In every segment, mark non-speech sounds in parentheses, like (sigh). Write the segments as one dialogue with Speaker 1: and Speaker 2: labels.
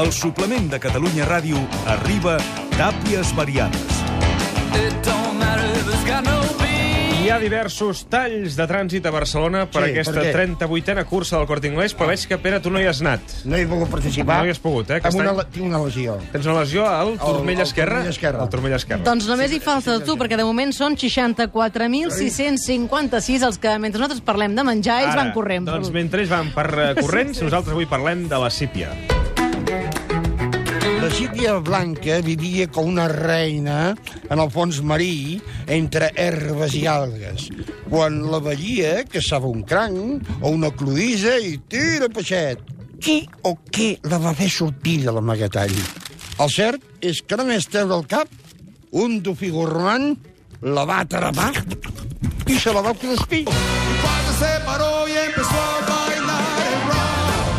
Speaker 1: el suplement de Catalunya Ràdio arriba Tàpies Variades.
Speaker 2: Hi ha diversos talls de trànsit a Barcelona per
Speaker 3: Sí,
Speaker 2: aquesta
Speaker 3: per què?
Speaker 2: 38a cursa del Corte Inglés, però veig que, Pere, tu no hi has anat.
Speaker 3: No he pogut participar.
Speaker 2: No hi has pogut, eh,
Speaker 3: Amb
Speaker 2: aquest
Speaker 3: una,
Speaker 2: any?
Speaker 3: le- tinc una lesió.
Speaker 2: Tens una lesió al turmell
Speaker 3: al
Speaker 2: esquerre?
Speaker 3: turmell esquerre.
Speaker 2: Al turmell esquerre.
Speaker 4: Doncs només hi falta tu, perquè de moment són 64.656 els que, mentre nosaltres parlem de menjar, ells
Speaker 2: Ara,
Speaker 4: van corrent.
Speaker 2: Doncs mentre ells van per
Speaker 4: (laughs)
Speaker 2: eh, corrents, nosaltres avui parlem de la sípia.
Speaker 3: La Sílvia Blanca vivia com una reina en el fons marí entre herbes i algues. Quan la veia, caçava un cranc o una clodissa i tira peixet. Qui o què la va fer sortir de l'amagatall? El cert és que només treure el cap, un dofí gormand la va atrapar i se la va cruspir.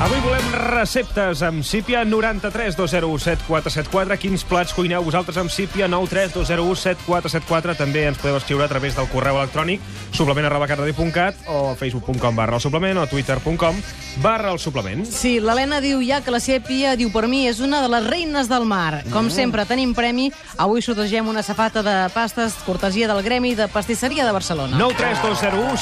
Speaker 2: Avui volem receptes amb sípia 93 201 7474. Quins plats cuineu vosaltres amb sípia 93 201 7474. També ens podeu escriure a través del correu electrònic suplement arroba catradio.cat o facebook.com barra el suplement o twitter.com barra el suplement.
Speaker 4: Sí, l'Helena diu ja que la sèpia, diu, per mi és una de les reines del mar.
Speaker 5: Mm.
Speaker 4: Com sempre, tenim premi. Avui sortegem una safata de pastes cortesia del Gremi de Pastisseria de Barcelona.
Speaker 2: 93201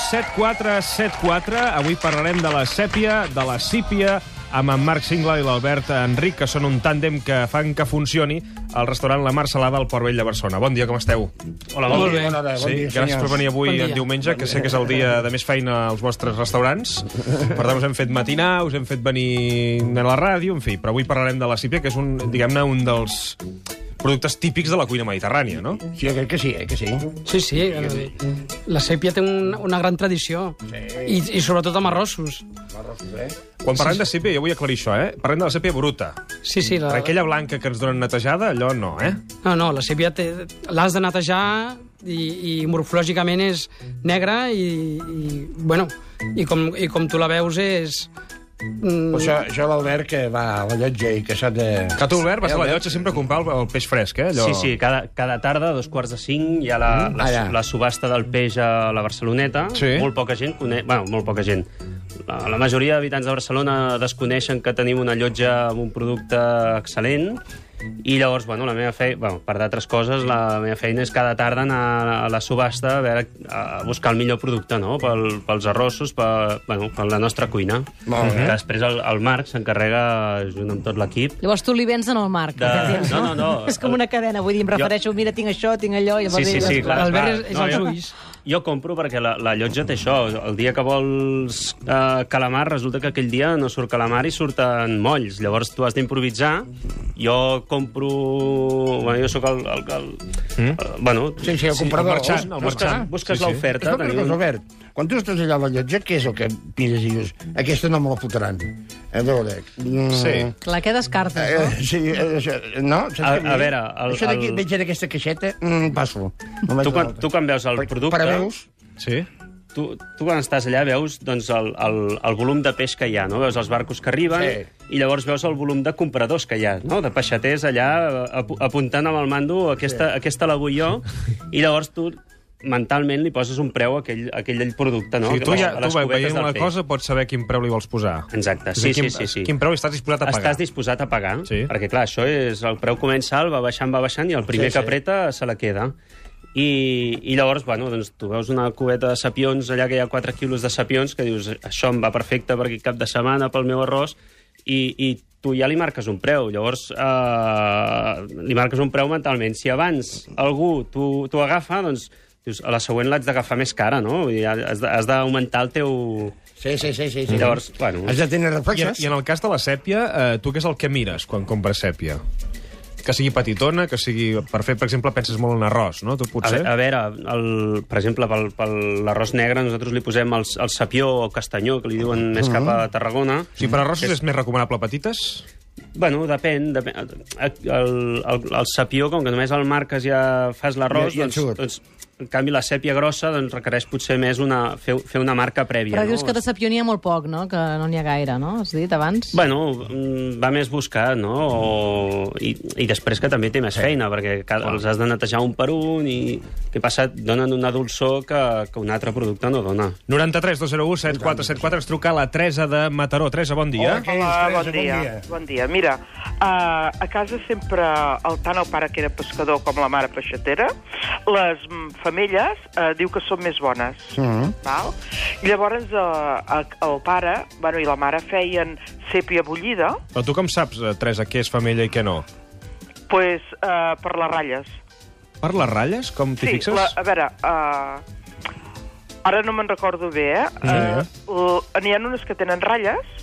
Speaker 2: 7474. Avui parlarem de la sèpia, de la sípia, amb en Marc Singla i l'Albert Enric, que són un tàndem que fan que funcioni al restaurant La Marcelada al Port Vell de Barcelona. Bon dia, com esteu? Hola,
Speaker 3: Molt bé. Bona hora, bon
Speaker 2: sí,
Speaker 3: dia,
Speaker 2: gràcies per
Speaker 3: senyors.
Speaker 2: venir avui
Speaker 4: Bon
Speaker 2: bon
Speaker 4: dia.
Speaker 2: en diumenge, que sé que és el dia de més feina als vostres restaurants. Per tant, us hem fet matinar, us hem fet venir a la ràdio, en fi. Però avui parlarem de la sípia, que és un, diguem-ne, un dels productes típics de la cuina mediterrània, no?
Speaker 3: Sí, jo crec que sí, eh, que sí.
Speaker 6: Sí, sí. eh, La sèpia té un, una gran tradició. I, I sobretot amb arrossos.
Speaker 2: Eh? Quan parlem de sèpia, jo vull aclarir això, eh? Parlem de la sèpia bruta.
Speaker 6: Sí, sí. La,
Speaker 2: Per aquella blanca que ens donen netejada, allò no, eh?
Speaker 6: No, no, la sèpia té- l'has de netejar i, i morfològicament és negra i, i bueno, i com, i com tu la veus és... Mm,
Speaker 3: Però això, això l'Albert que va a la llotja i que s'ha de...
Speaker 2: Que tu, Albert, vas a la llotja sempre a comprar el, el peix fresc, eh? Allò... Mm.
Speaker 5: Sí, sí, cada, cada tarda, a dos quarts de cinc, hi ha la, la,
Speaker 3: Ah, ja.
Speaker 5: la subhasta del peix a la Barceloneta.
Speaker 2: Sí.
Speaker 5: Molt poca gent coneix... Bueno, molt poca gent. La, la majoria d'habitants de Barcelona desconeixen que tenim una llotja amb un producte excel·lent i llavors, bueno, la meva feina... Bueno, per d'altres coses, la meva feina és cada tarda anar a la subhasta a, veure, a buscar el millor producte, no?, Pel, pels arrossos, per, bueno, per la nostra cuina.
Speaker 3: Molt bé.
Speaker 5: Que després el, el Marc s'encarrega, junt amb tot l'equip,
Speaker 4: Llavors tu li vens en el Marc.
Speaker 5: De-
Speaker 4: el que tens,
Speaker 5: no, no, no.
Speaker 4: (laughs) És com una cadena, vull dir, em refereixo, mira, tinc això, tinc allò... i
Speaker 5: Sí,
Speaker 4: llavors
Speaker 5: sí,
Speaker 4: ell-
Speaker 5: sí, clar.
Speaker 6: L'Albert
Speaker 5: clar.
Speaker 6: és- és els
Speaker 5: jo-
Speaker 6: ulls.
Speaker 5: Jo compro perquè la, la llotja té això. El dia que vols eh, calamar, resulta que aquell dia no surt calamar i surten molls. Llavors tu has d'improvisar. Jo compro... Bueno, jo sóc el... el, el, el, bueno,
Speaker 3: Sí, sí, el comprador.
Speaker 2: el marxant, el
Speaker 5: busques,
Speaker 2: marxant.
Speaker 5: busques
Speaker 2: Mm? Sí, sí.
Speaker 5: l'oferta.
Speaker 3: Escolta, una
Speaker 5: tenim
Speaker 3: cosa,
Speaker 5: un-
Speaker 3: Albert, quan tu estàs allà a la llotja, què és el que mires i dius? Aquesta no me la fotran. A veure... Mm,
Speaker 2: Sí.
Speaker 4: Clar, què descartes,
Speaker 3: Eh,
Speaker 4: no?
Speaker 3: sí, eh, això- no? Saps
Speaker 5: A-
Speaker 3: què vull
Speaker 5: a
Speaker 3: dir?
Speaker 5: veure, el-
Speaker 3: Això d'aquí,
Speaker 5: el-
Speaker 3: veig en aquesta caixeta, mm, passo. No vaig
Speaker 5: Tu,
Speaker 3: a
Speaker 5: quan,
Speaker 3: l'altra.
Speaker 5: tu quan veus el
Speaker 3: Per-
Speaker 5: producte...
Speaker 3: Preveus?
Speaker 2: Sí?
Speaker 5: tu, tu quan estàs allà veus doncs, el, el, el volum de peix que hi ha, no? veus els barcos que arriben
Speaker 3: Sí.
Speaker 5: i llavors veus el volum de compradors que hi ha, no? de peixaters allà ap apuntant amb el mando aquesta, sí. aquesta la vull jo
Speaker 3: (laughs)
Speaker 5: i llavors tu mentalment li poses un preu a aquell, a aquell producte. No?
Speaker 2: No, sí, tu
Speaker 5: A
Speaker 2: ja,
Speaker 5: les
Speaker 2: tu ve-
Speaker 5: cubetes
Speaker 2: veient
Speaker 5: del
Speaker 2: la
Speaker 5: peix.
Speaker 2: cosa pots saber quin preu li vols posar.
Speaker 5: Exacte,
Speaker 2: És a
Speaker 5: sí,
Speaker 2: dir,
Speaker 5: sí,
Speaker 2: quin,
Speaker 5: sí, sí.
Speaker 2: Quin preu estàs disposat a pagar?
Speaker 5: Estàs disposat a pagar?
Speaker 2: Sí.
Speaker 5: Perquè, clar, això és... El preu comensal va baixant, va baixant, i el primer
Speaker 3: Sí,
Speaker 5: sí,
Speaker 3: sí.
Speaker 5: que apreta se la queda. I, I llavors, bueno, doncs, tu veus una cubeta de sapions, allà que hi ha 4 quilos de sapions, que dius, això em va perfecte perquè cap de setmana pel meu arròs, i, i tu ja li marques un preu. Llavors, eh, li marques un preu mentalment. Si abans algú t'ho t'ho agafa, doncs dius, a la següent l'haig d'agafar més cara, no? Vull dir, has de- has d'augmentar el teu...
Speaker 3: Sí, sí, sí, sí. sí.
Speaker 5: Llavors, bueno...
Speaker 3: Has de tenir
Speaker 2: I,
Speaker 3: reflexes.
Speaker 2: I en el cas de la sèpia, eh, tu què és el que mires quan compres sèpia? Que sigui petitona, que sigui... Per fer, per exemple, penses molt en arròs, no? Tu
Speaker 5: A,
Speaker 2: potser...
Speaker 5: ve- a veure, el, per exemple, pel, pel l'arròs negre nosaltres li posem el, el sapió o castanyó, que li diuen més cap
Speaker 3: Mm-hmm.
Speaker 5: a Tarragona.
Speaker 2: O sigui, per arrossos és més recomanable petites?
Speaker 5: Bueno, depèn. depèn el, el, el sapió, com que només el marques ja fas l'arròs,
Speaker 3: Ja- ja
Speaker 5: doncs,
Speaker 3: surt.
Speaker 5: doncs, en canvi, la sèpia grossa doncs, requereix potser més una, fer, fer una marca prèvia.
Speaker 4: Però
Speaker 5: no?
Speaker 4: dius que de sapió n'hi ha molt poc, no? Que no n'hi ha gaire, no? Has dit abans?
Speaker 5: Bueno, mm, va més buscar, no? O... I, I després que també té més feina, perquè cada, els has de netejar un per un i... Què passa? Et Donen una dolçor que, que un altre producte no dona.
Speaker 2: 93 201 7474 ens truca la Teresa de Mataró. Teresa, bon dia.
Speaker 3: Hola,
Speaker 7: Hola,
Speaker 3: Teresa,
Speaker 7: bon dia. Bon dia. Mira, eh, A, a casa sempre, el, tant el pare que era pescador com la mare peixatera, les mm, femelles eh, diu que són més bones.
Speaker 3: Mhm.
Speaker 7: Val? Llavors eh, a, el pare bueno, i la mare feien sèpia bullida
Speaker 2: Però tu com saps, eh, Teresa, què és femella i què no?
Speaker 7: pues, eh, per les ratlles.
Speaker 2: Per les ratlles, com t'hi
Speaker 7: Sí,
Speaker 2: fixes?
Speaker 7: la, a veure... Uh, ara no me'n recordo bé, eh?
Speaker 2: Sí.
Speaker 7: Uh, N'hi ha unes que tenen ratlles,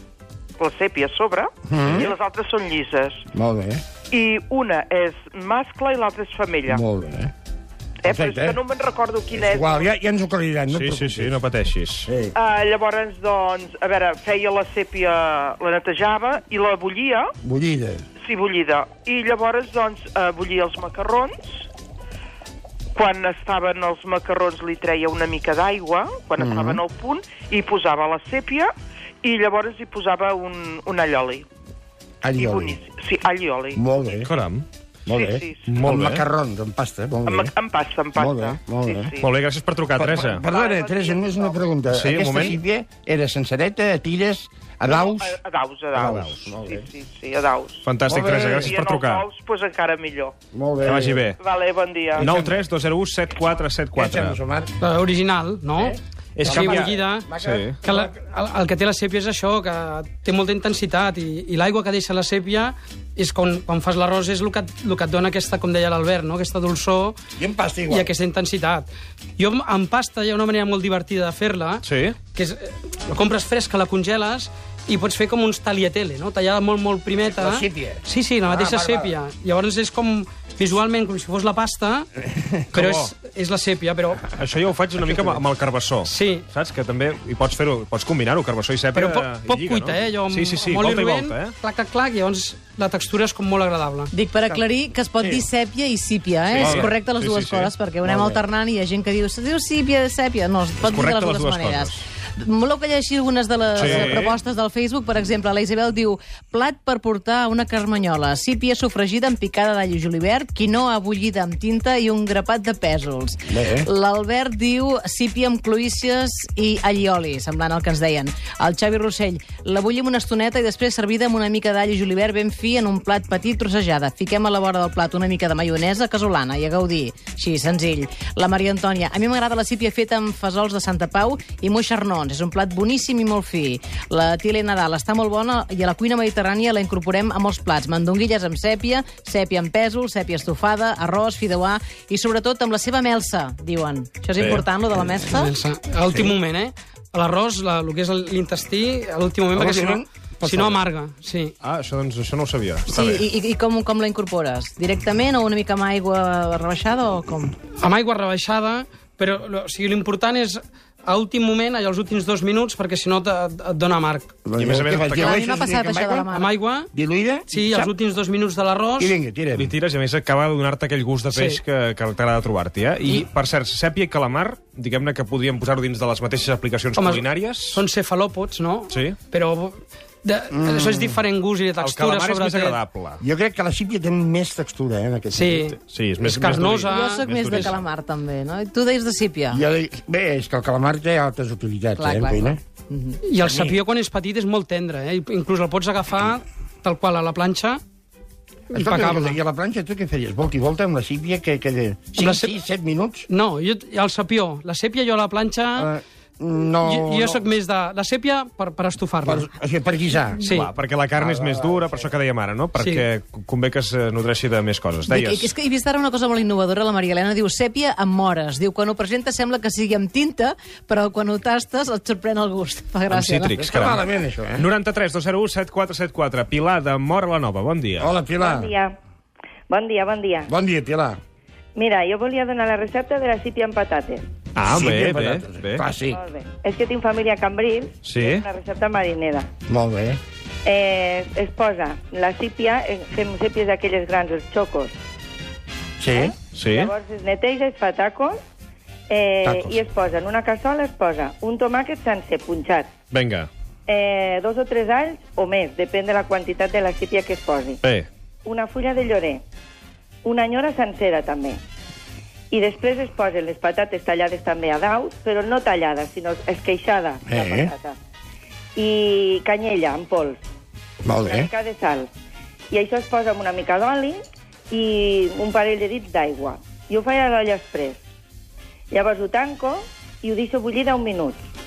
Speaker 7: la sèpia a sobre,
Speaker 2: Mm-hmm.
Speaker 3: Mm.
Speaker 7: i les altres són llises.
Speaker 3: Molt bé,
Speaker 7: I una és mascle i l'altra és femella.
Speaker 3: molt bé.
Speaker 7: eh? Però és
Speaker 3: perfecte.
Speaker 7: que no me'n recordo quina és.
Speaker 3: Igual, ja, ja ens ho aclarirem, no
Speaker 2: Sí, sí, sí, no pateixis.
Speaker 3: Sí.
Speaker 7: Uh, llavors, doncs, a veure, feia la sèpia, la netejava i la bullia,
Speaker 3: Bullida.
Speaker 7: sí, bullida. I llavors, doncs, uh, bullia els macarrons. Quan estaven els macarrons li treia una mica d'aigua, quan
Speaker 3: Mhm.
Speaker 7: mm -hmm. estaven al punt, i hi posava la sèpia i llavors hi posava un, un allioli. I
Speaker 3: Allioli.
Speaker 7: boníssim. Sí, allioli.
Speaker 3: Molt bé,
Speaker 2: Caram.
Speaker 3: molt
Speaker 7: sí,
Speaker 3: bé.
Speaker 7: sí, sí.
Speaker 2: Molt
Speaker 3: Amb
Speaker 2: bé.
Speaker 3: macarrons, amb pasta, eh? molt
Speaker 7: Amb,
Speaker 3: bé.
Speaker 7: amb pasta, amb pasta.
Speaker 3: Molt bé, molt bé.
Speaker 7: Sí, sí.
Speaker 2: Molt bé, gràcies per trucar, Teresa.
Speaker 7: Ah,
Speaker 3: Perdona,
Speaker 7: no
Speaker 3: Teresa,
Speaker 7: tinc
Speaker 3: només una
Speaker 7: prou.
Speaker 3: pregunta.
Speaker 2: Sí, un
Speaker 3: Aquesta
Speaker 2: moment.
Speaker 3: sípia era sencereta, a tires, a daus...
Speaker 7: A, a daus, a daus.
Speaker 3: daus, molt
Speaker 7: sí,
Speaker 3: bé.
Speaker 7: sí, sí, a daus.
Speaker 2: Fantàstic,
Speaker 3: Molt bé.
Speaker 2: Teresa, gràcies per
Speaker 7: I en els
Speaker 2: trucar.
Speaker 7: ous, doncs encara millor.
Speaker 3: Molt bé.
Speaker 2: Que vagi bé.
Speaker 7: Vale, bon dia.
Speaker 2: 9 3 2 0 1 7 4 7
Speaker 3: Què fem,
Speaker 2: 4
Speaker 3: Omar?
Speaker 6: La original, no?
Speaker 3: Eh?
Speaker 2: És
Speaker 6: Sí,
Speaker 2: que hi ha-
Speaker 6: bullida.
Speaker 2: Sí.
Speaker 6: Que la, el, el que té la sèpia és això, que té molta intensitat i, i l'aigua que deixa la sèpia és quan, quan fas l'arròs és el que, et- el que et dona aquesta, com deia l'Albert, no? aquesta dolçor
Speaker 3: I amb pasta
Speaker 6: i
Speaker 3: igual.
Speaker 6: aquesta intensitat. Jo amb- amb pasta hi ha una manera molt divertida de fer-la,
Speaker 2: Sí?
Speaker 6: que és, eh, la compres fresca, la congeles i pots fer com uns tagliatelle, no? tallada molt, molt primeta.
Speaker 3: La sèpia.
Speaker 6: Sí, sí, la mateixa
Speaker 3: Ah, val, val.
Speaker 6: sèpia. Llavors és com, visualment, com si fos la pasta,
Speaker 3: (laughs)
Speaker 6: però és, és la sèpia, però...
Speaker 2: Això ja ho faig una mica amb- amb el carbassó.
Speaker 6: Sí.
Speaker 2: Saps? Que també hi pots fer-ho, pots combinar-ho, carbassó i cèpia.
Speaker 6: Però poc,
Speaker 2: i
Speaker 6: poc
Speaker 2: lliga,
Speaker 6: cuita,
Speaker 2: no?
Speaker 6: eh? Allò, amb-
Speaker 2: sí, sí, sí,
Speaker 6: amb oli
Speaker 2: volta i
Speaker 6: rovent,
Speaker 2: volta, eh?
Speaker 6: Clac, clac, clac, llavors la textura és com molt agradable.
Speaker 4: Dic per aclarir que es pot dir sèpia i sípia,
Speaker 2: Sí,
Speaker 4: eh? és
Speaker 2: sí.
Speaker 4: correcte les
Speaker 2: Sí,
Speaker 4: dues
Speaker 2: sí, sí.
Speaker 4: coses, perquè ho anem alternant i hi ha gent que diu se diu sípia, sípia... No, es pot dir de
Speaker 2: correcte
Speaker 4: les
Speaker 2: les
Speaker 4: dues,
Speaker 2: dues
Speaker 4: maneres. Voleu que llegeixi algunes de les
Speaker 2: Sí.
Speaker 4: eh, propostes del Facebook? Per exemple, la Isabel diu plat per portar a una carmanyola, sípia sofregida amb picada d'all i julivert, quinoa bullida amb tinta i un grapat de pèsols.
Speaker 3: Bé.
Speaker 4: L'Albert diu sípia amb cloïsses i allioli, semblant al que ens deien. El Xavi Rossell, la bullim una estoneta i després servida amb una mica d'all i julivert ben fi en un plat petit trossejada. Fiquem a la vora del plat una mica de maionesa casolana i a gaudir. Així, senzill. La Maria Antònia, a mi m'agrada la sípia feta amb fesols de Santa Pau i moixernons. És un plat boníssim i molt fi. La Tile Nadal està molt bona i a la cuina mediterrània la incorporem a molts plats. Mandonguilles amb sèpia, sèpia amb pèsol, sèpia estofada, arròs, fideuà i sobretot amb la seva melsa, diuen. Això és important, lo de la melsa?
Speaker 6: Comença. A l'últim moment, eh? A L'arròs, la, el que és l'intestí, a l'últim moment,
Speaker 3: A
Speaker 6: perquè si no,
Speaker 3: l'últim moment,
Speaker 6: si no amarga. Sí.
Speaker 2: Ah, això, doncs, això no ho sabia. Està
Speaker 4: Sí,
Speaker 2: bé.
Speaker 4: i, i- i com, com la incorpores? Directament o una mica amb aigua rebaixada o com?
Speaker 6: amb aigua rebaixada, però lo- o sigui, l'important és a últim moment, allà els últims dos minuts, perquè si no te- et dona amarg.
Speaker 2: I a més a més,
Speaker 3: Què faig?
Speaker 2: atacar-
Speaker 4: A mi
Speaker 3: Llegeixes
Speaker 4: m'ha
Speaker 3: una
Speaker 4: passat
Speaker 3: mica amb
Speaker 4: això de la
Speaker 3: aigua?
Speaker 4: mà.
Speaker 6: Amb aigua,
Speaker 3: Diluïda?
Speaker 6: sí,
Speaker 3: Xap,
Speaker 6: els últims dos minuts de l'arròs...
Speaker 3: I vinga, tirem.
Speaker 2: Li tires i a més acaba de donar-te aquell gust de peix
Speaker 6: Sí.
Speaker 2: que, que t'agrada trobar-t'hi, eh? I,
Speaker 6: I-
Speaker 2: per cert, sèpia i calamar, diguem-ne que podríem posar-ho dins de les mateixes aplicacions
Speaker 6: Home,
Speaker 2: culinàries.
Speaker 6: Són cefalòpods, no?
Speaker 2: Sí.
Speaker 6: Però de, mm. això és diferent gust i de
Speaker 2: El
Speaker 6: textura,
Speaker 2: calamar és més
Speaker 6: sobretot.
Speaker 2: agradable.
Speaker 3: Jo crec que la sípia té més textura, eh, en aquest
Speaker 6: Sí.
Speaker 3: sentit.
Speaker 2: Sí, és més-
Speaker 6: és carnosa.
Speaker 4: Jo sóc més de
Speaker 2: turisme.
Speaker 4: calamar, també, no? I tu deies de sípia.
Speaker 3: Jo, dic- bé, és que el calamar té altres utilitats,
Speaker 4: Clar,
Speaker 3: eh,
Speaker 4: clar, Mhm.
Speaker 3: en cuina.
Speaker 6: I el sapió, quan és petit, és molt tendre. Eh? Inclús el pots agafar tal qual a la planxa, impecable.
Speaker 3: I a la planxa, tu què feies? Volta i volta amb la sípia, que, que de 5,
Speaker 6: la sep-
Speaker 3: 6, 7 minuts?
Speaker 6: No, jo, el sapió. La sèpia jo a la planxa...
Speaker 3: Eh, no,
Speaker 6: jo, jo
Speaker 3: no.
Speaker 6: sóc més de... La sèpia per, per estofar-la.
Speaker 3: Per, o sigui, per guisar.
Speaker 6: Sí.
Speaker 2: Clar, perquè la
Speaker 3: Ah,
Speaker 2: carn és més dura, per això que dèiem ara, no? Perquè convé que es eh, nodreixi de més coses.
Speaker 4: Dic,
Speaker 2: Deies...
Speaker 4: és que he vist ara una cosa molt innovadora, la Maria Elena diu sèpia amb mores. Diu, quan ho presenta sembla que sigui amb tinta, però quan ho tastes et sorprèn el gust. Fa
Speaker 2: Amb
Speaker 4: gràcia, no?
Speaker 2: cítrics,
Speaker 3: Està
Speaker 2: caram.
Speaker 3: malament, això, eh?
Speaker 2: 93 201 7474. Pilar de Mora la Nova, bon dia.
Speaker 3: Hola, Pilar.
Speaker 8: Bon dia. Bon dia, bon dia.
Speaker 3: Bon dia, Pilar.
Speaker 8: Mira, jo volia donar la recepta de la sípia amb patates.
Speaker 2: Ah, bé,
Speaker 3: Sípia,
Speaker 2: bé,
Speaker 3: patates.
Speaker 2: bé.
Speaker 3: Clàssic.
Speaker 8: Molt bé. És que tinc família a Cambrils,
Speaker 2: Sí.
Speaker 8: que és una recepta marinera.
Speaker 3: Molt bé.
Speaker 8: Eh, es posa la sípia, eh, fem sípies d'aquelles grans, els xocos.
Speaker 3: Sí?
Speaker 2: Sí?
Speaker 8: Llavors es neteja, es fa tacos, eh,
Speaker 3: Tacos.
Speaker 8: i es posa en una cassola es posa un tomàquet sencer punxat,
Speaker 2: Vinga,
Speaker 8: eh, dos o tres alls o més, depèn de la quantitat de la sípia que es posi.
Speaker 2: bé.
Speaker 8: una fulla de llorer, una enyora sencera també. I després es posen les patates tallades també a daus, però no tallades, sinó esqueixada, eh. la
Speaker 3: Eh.
Speaker 8: patata. I canyella, en pols,
Speaker 3: Molt
Speaker 8: una
Speaker 3: bé.
Speaker 8: mica de sal. I això es posa amb una mica d'oli i un parell de dits d'aigua. Jo ho faig a l'olla express. Llavors ho tanco i ho deixo bullir 10 minuts.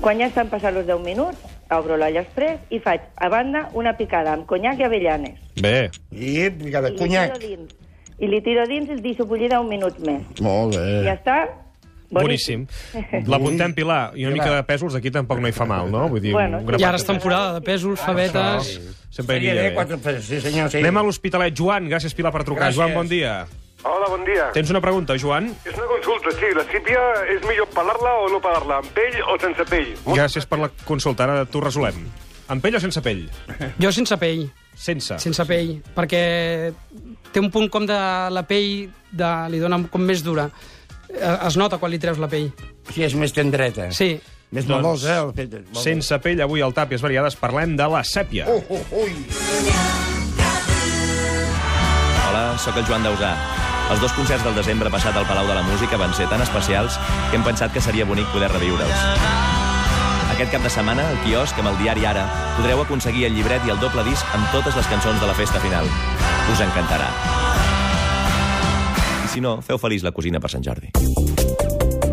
Speaker 8: Quan ja estan passant els 10 minuts, obro l'olla express i faig a banda una picada amb conyac i avellanes.
Speaker 2: Bé.
Speaker 3: I picada,
Speaker 8: I li
Speaker 3: conyac.
Speaker 8: tiro dins. I li tiro dins i el deixo bullir 10 minuts més.
Speaker 3: Molt
Speaker 2: Eh.
Speaker 8: I ja
Speaker 3: bé.
Speaker 8: està.
Speaker 2: Boníssim. L'apuntem, Pilar. I una mica de pèsols aquí tampoc no hi fa mal, no? Vull dir,
Speaker 8: Bueno,
Speaker 2: un
Speaker 8: sí.
Speaker 2: grapat
Speaker 6: I ara és
Speaker 2: de
Speaker 6: temporada de pèsols, favetes...
Speaker 2: pèsols Sempre hi havia bé.
Speaker 3: Sí, senyor, sí.
Speaker 2: Anem a l'Hospitalet. Joan, gràcies, Pilar, per trucar.
Speaker 3: Gràcies.
Speaker 2: Joan, bon dia.
Speaker 9: Hola, buen día.
Speaker 2: Tens una pregunta, Joan?
Speaker 9: Es una consulta, sí. La sípia és millor pelar-la o no pelar-la? Amb pell o sense pell?
Speaker 2: Gràcies per la consulta. Ara t'ho resolem. Amb pell o sense pell?
Speaker 6: Jo sense pell,
Speaker 2: Sense.
Speaker 6: sense pell, perquè té un punt com de la pell, de, li dona com més dura. Eh, Es nota quan li treus la pell.
Speaker 3: Sí, és més tendreta.
Speaker 6: Sí,
Speaker 3: Més
Speaker 2: Doncs,
Speaker 3: melosa. El fet de- molt
Speaker 2: Sense pell, avui al Tàpies Variades parlem de la sèpia.
Speaker 3: bé. Oh, oh, ui.
Speaker 10: Hola, sóc el Joan Dausà. Els dos concerts del desembre passat al Palau de la Música van ser tan especials que hem pensat que seria bonic poder reviure-us. Aquest cap de setmana, al quiosc amb el diari Ara, podreu aconseguir el llibret i el doble disc amb totes les cançons de la festa final. Us encantarà. I si no, feu feliç la cosina per Sant Jordi.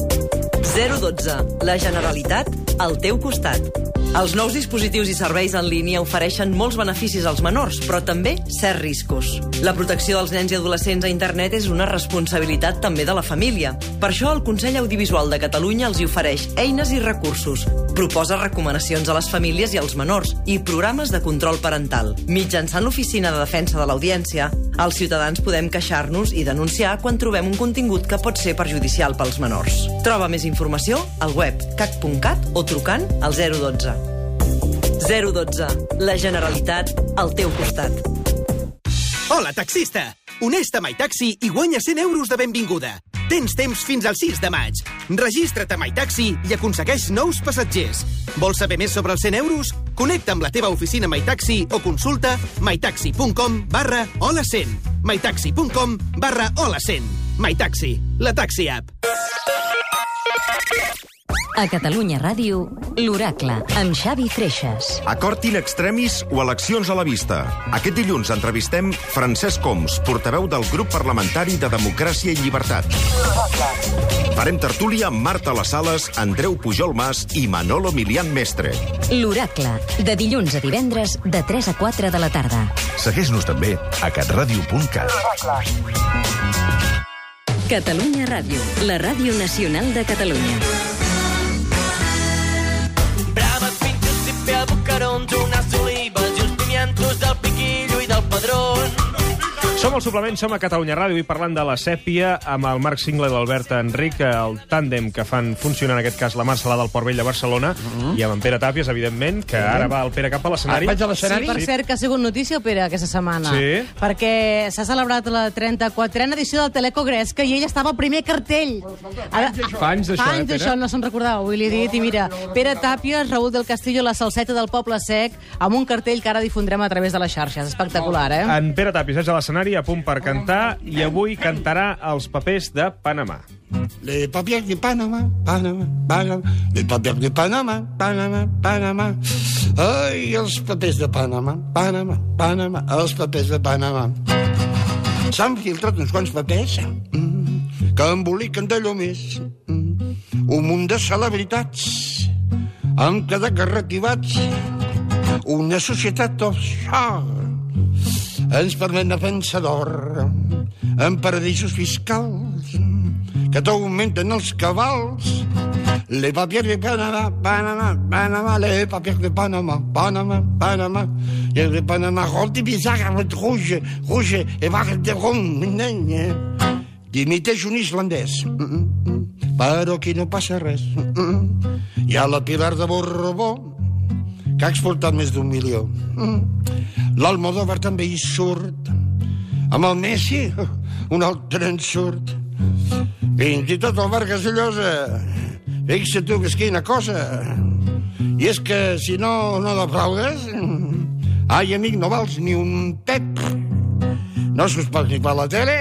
Speaker 11: 012. La Generalitat al teu costat. Els nous dispositius i serveis en línia ofereixen molts beneficis als menors, però també certs riscos. La protecció dels nens i adolescents a internet és una responsabilitat també de la família. Per això el Consell Audiovisual de Catalunya els hi ofereix eines i recursos. Proposa recomanacions a les famílies i als menors i programes de control parental. Mitjançant l'Oficina de Defensa de l'Audiència, els ciutadans podem queixar-nos i denunciar quan trobem un contingut que pot ser perjudicial pels menors. Troba més informació al web cac.cat o trucant al 012. 012. La Generalitat al teu costat.
Speaker 12: Hola, taxista! Uneix-te a MyTaxi i guanya 100 euros de benvinguda. Tens temps fins al 6 de maig. Registra't a MyTaxi i aconsegueix nous passatgers. Vols saber més sobre els 100 euros? Connecta amb la teva oficina MyTaxi o consulta mytaxi.com barra hola 100. mytaxi.com barra hola 100. MyTaxi, la taxi app.
Speaker 11: A Catalunya Ràdio, l'Oracle, amb Xavi Freixas.
Speaker 1: Acord in extremis o eleccions a la vista. Aquest dilluns entrevistem Francesc Coms, portaveu del grup parlamentari de Democràcia i Llibertat. Farem tertúlia amb Marta Les Sales, Andreu Pujol Mas i Manolo Milian Mestre.
Speaker 11: L'Oracle, de dilluns a divendres, de 3 a 4 de la tarda.
Speaker 1: Segueix-nos també a catradio.cat.
Speaker 11: Catalunya Ràdio, la ràdio nacional de Catalunya.
Speaker 12: Braves, pinxos, cipel, bucarons, unes olives i uns pimientos del piquillo i del padrón.
Speaker 2: Som al suplement, som a Catalunya Ràdio i parlant de la sèpia amb el Marc Singla i l'Albert Enric, el tàndem que fan funcionar en aquest cas la Marcelà del Port Vell de Barcelona i amb en Pere Tàpies, evidentment, que ara va el Pere cap a l'escenari.
Speaker 3: Mhm. Ah, vaig a
Speaker 4: Sí,
Speaker 3: l'escenari?
Speaker 4: per cert, que ha sigut notícia, Pere, aquesta setmana.
Speaker 2: Sí.
Speaker 4: Perquè s'ha celebrat la 34a edició del Telecogresca i ell estava al primer cartell. Ara,
Speaker 2: Fans d'això, eh,
Speaker 4: Fans
Speaker 2: Pere?
Speaker 4: d'això, no se'n recordava, avui l'he dit. I mira, Pere Tàpies, Raül del Castillo, la salseta del Poble Sec, amb un cartell que ara difondrem a través de les xarxes. Espectacular, eh?
Speaker 2: En Pere Tàpies és a l'escenari a punt per cantar i avui cantarà els papers de Panamà.
Speaker 3: Les papiers de Panamá, Panamá, Panamá. Les papiers de Panamá, Panamá, Panamá. Ai, els papers de Panamá, Panamá, Panamà, els papers de Panamà. S'han filtrat uns quants papers mm, que emboliquen d'allò més. Mm, un munt de celebritats han quedat garrativats. Una societat offshore ens permet defensa d'or en paradisos fiscals que t'augmenten els cabals Le papier de Panamà, Panamà, Panamà, le papier de Panamà, Panamà, Panamà, i el de Panamà, rote bizarre, rouge, rouge, et barre de rom, nen, eh? dimiteix un islandès. Mm, mm, mm. Però aquí no passa res. Mm, mm. Hi ha la Pilar de Borbó, que ha exportat més d'un milió. Mm. L'Almodóvar també hi surt. Amb el Messi, un altre en surt. Fins i tot el Vargas Llosa. Fixa tu que és quina cosa. I és que si no, no defraudes... mm, Ai, (laughs) amic, no vals ni un pep. No s'us pot ni per la tele,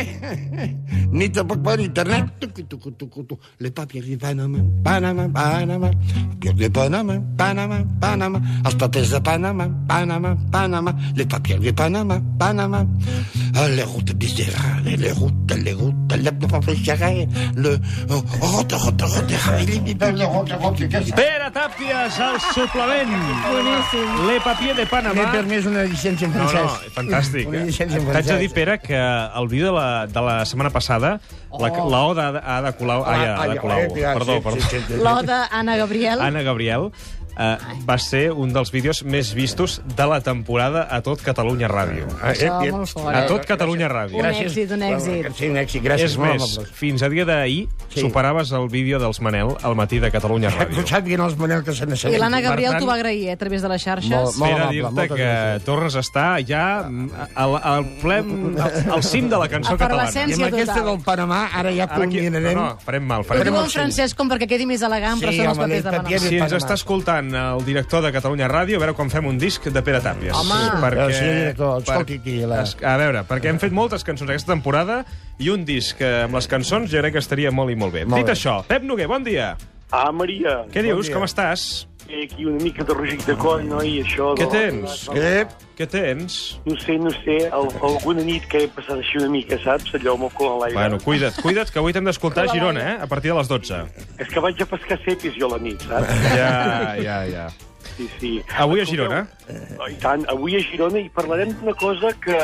Speaker 3: ni tampoc per internet. Tucu, tucu, tucu, tucu. Le papiers de Panamà, Panamà, Panamà, papiers de Panamà, Panamà, Panamà, els papers de Panamà, Panamà, Panamà, les papiers de Panamà, Panamà, Ah, les routes misérales, les routes, les routes, les papiers, le... Oh, route, route, route, route, route, route, route,
Speaker 2: Pere Tàpies, al suplement. Boníssim. Le papier de Panamà.
Speaker 3: M'he permès una llicència en francès.
Speaker 2: No, no, fantàstic.
Speaker 3: Una llicència en
Speaker 2: T'haig de
Speaker 3: francès.
Speaker 2: dir, Pere, que el vídeo de la, de la setmana passada, la,
Speaker 3: Oh. Ah,
Speaker 2: la Oda a Ada Colau... Ai, a Ada
Speaker 3: ai,
Speaker 2: Colau.
Speaker 3: ai, ai,
Speaker 2: Perdó,
Speaker 3: eh, sí,
Speaker 2: perdó.
Speaker 3: sí, sí, sí.
Speaker 4: L'Oda Anna Gabriel.
Speaker 2: Anna Gabriel eh, va ser un dels vídeos més vistos de la temporada a tot Catalunya Ràdio.
Speaker 3: Ah,
Speaker 4: Això, eh, molt fort.
Speaker 2: A tot Catalunya Ràdio.
Speaker 4: Un èxit, un èxit.
Speaker 3: Sí, un èxit, gràcies.
Speaker 2: És
Speaker 3: molt
Speaker 2: més,
Speaker 3: amables.
Speaker 2: fins a dia d'ahir
Speaker 3: Sí.
Speaker 2: superaves el vídeo dels Manel al matí de Catalunya Ràdio.
Speaker 3: Ho sàpiguen els Manel que se n'assabenten.
Speaker 4: I l'Anna Gabriel
Speaker 2: Per tant-
Speaker 4: t'ho va agrair, eh, a través de les xarxes.
Speaker 3: Molt
Speaker 2: Espera
Speaker 3: amable,
Speaker 2: dir-te
Speaker 3: moltes
Speaker 2: que tornes a estar ja mm, al, al ple, al, al cim de la cançó
Speaker 4: Efervescència.
Speaker 2: catalana.
Speaker 3: I amb aquesta
Speaker 4: total.
Speaker 3: del Panamà, ara ja
Speaker 2: Ara aquí, no,
Speaker 3: culminarem...
Speaker 2: no, farem mal.
Speaker 4: Ho
Speaker 2: Farem
Speaker 4: diu
Speaker 2: mal.
Speaker 4: en francès com perquè quedi més elegant, però
Speaker 3: Sí,
Speaker 4: són els
Speaker 3: home,
Speaker 4: papers de
Speaker 3: el papier
Speaker 4: Panamà.
Speaker 2: Si ens
Speaker 3: Panamà.
Speaker 2: està escoltant el director de Catalunya Ràdio, a veure quan fem un disc de Pere Tàpies.
Speaker 4: Home!
Speaker 3: Però sí, director, escolti aquí, la-
Speaker 2: Es- A veure, perquè hem fet moltes cançons aquesta temporada i un disc eh, amb les cançons jo crec que estaria molt i molt bé.
Speaker 3: Molt
Speaker 2: Dit
Speaker 3: bé.
Speaker 2: això, Pep Noguer, bon dia.
Speaker 9: Ah, Maria,
Speaker 2: Què dius?
Speaker 3: dia.
Speaker 2: Com estàs?
Speaker 9: eh, aquí una mica de regic de coll, no? I això...
Speaker 2: Què
Speaker 9: de-
Speaker 2: tens?
Speaker 3: Ep,
Speaker 2: Què tens?
Speaker 9: No sé, no sé, al, alguna nit que he passat així una mica, saps? Allò amb el cul a l'aire.
Speaker 2: Bueno, cuida't, cuida't, que avui t'hem d'escoltar a Girona, eh? A partir de les 12.
Speaker 9: És que vaig a pescar cepis jo a la nit, saps?
Speaker 2: Ja, ja, ja.
Speaker 9: Sí, sí.
Speaker 2: Avui a Girona?
Speaker 9: Escolteu, I tant, avui a Girona i parlarem d'una cosa que,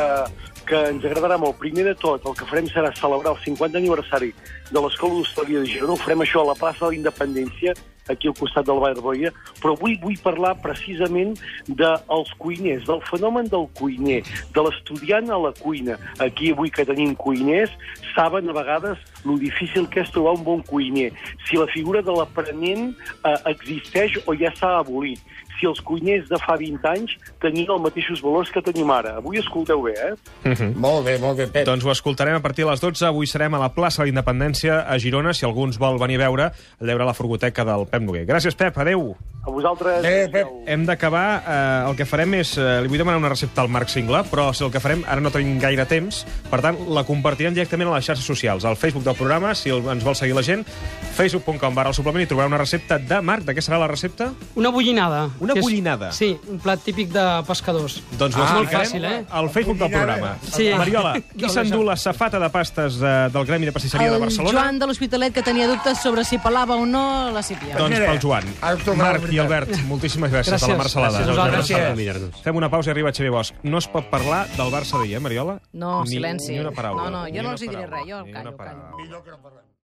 Speaker 9: que ens agradarà molt. Primer de tot, el que farem serà celebrar el 50 aniversari de l'Escola d'Hostaleria de Girona. Ho farem això a la plaça de la Independència, aquí al costat del Bayer Boia, però avui vull parlar precisament dels cuiners, del fenomen del cuiner, de l'estudiant a la cuina. Aquí avui que tenim cuiners, saben a vegades lo difícil que és trobar un bon cuiner, si la figura de l'aprenent eh, existeix o ja s'ha abolit, si els cuiners de fa 20 anys tenien els mateixos valors que tenim ara. Avui escolteu bé, eh?
Speaker 3: Molt bé, molt bé, Pep.
Speaker 2: Mhm. Doncs ho escoltarem a partir de les 12. Avui serem a la plaça de la Independència, a Girona. Si algú ens vol venir a veure, a veure la furgoteca del Pep Noguer. Gràcies, Pep. Adéu.
Speaker 9: A vosaltres...
Speaker 3: Bé, Pep.
Speaker 2: Hem d'acabar. Eh, el que farem és... Eh, li vull demanar una recepta al Marc Singla, però si el que farem... Ara no tenim gaire temps. Per tant, la compartirem directament a les xarxes socials, al Facebook del programa, si el, ens vol seguir la gent. facebook.com barra el suplement i trobarà una recepta de Marc. De què serà la recepta?
Speaker 6: Una bullinada.
Speaker 2: Una
Speaker 6: que és-
Speaker 2: bullinada?
Speaker 6: Sí, un plat típic de pescadors.
Speaker 2: Doncs
Speaker 6: és
Speaker 2: ho
Speaker 6: molt
Speaker 2: explicarem
Speaker 6: fàcil, eh?
Speaker 2: al Facebook del programa.
Speaker 6: Sí. (laughs)
Speaker 2: Mariola, qui s'endú la safata de pastes eh, del Gremi de Pastisseria de
Speaker 4: El
Speaker 2: Barcelona?
Speaker 4: Joan de l'Hospitalet, que tenia dubtes sobre si pelava o no la sípia.
Speaker 2: Doncs
Speaker 3: Mira,
Speaker 2: pel Joan.
Speaker 3: ara us tornarà
Speaker 2: Marc
Speaker 3: la
Speaker 2: i
Speaker 3: veritat.
Speaker 2: Albert, moltíssimes gràcies, a la
Speaker 6: Gràcies.
Speaker 2: Marcelada.
Speaker 6: Gràcies a vosaltres.
Speaker 2: Gràcies.
Speaker 5: per mirar-nos.
Speaker 2: Fem una pausa i arriba Xavier Bosch. No es pot parlar del Barça d'ahir, eh, Mariola?
Speaker 4: No,
Speaker 2: ni,
Speaker 4: silenci.
Speaker 2: Ni una paraula.
Speaker 4: No, no, jo
Speaker 2: Ni
Speaker 4: no
Speaker 2: una
Speaker 4: els hi diré
Speaker 2: paraula,
Speaker 4: res, jo
Speaker 2: ni una
Speaker 4: callo,
Speaker 2: paraula.
Speaker 4: callo.
Speaker 3: Millor que no parlem.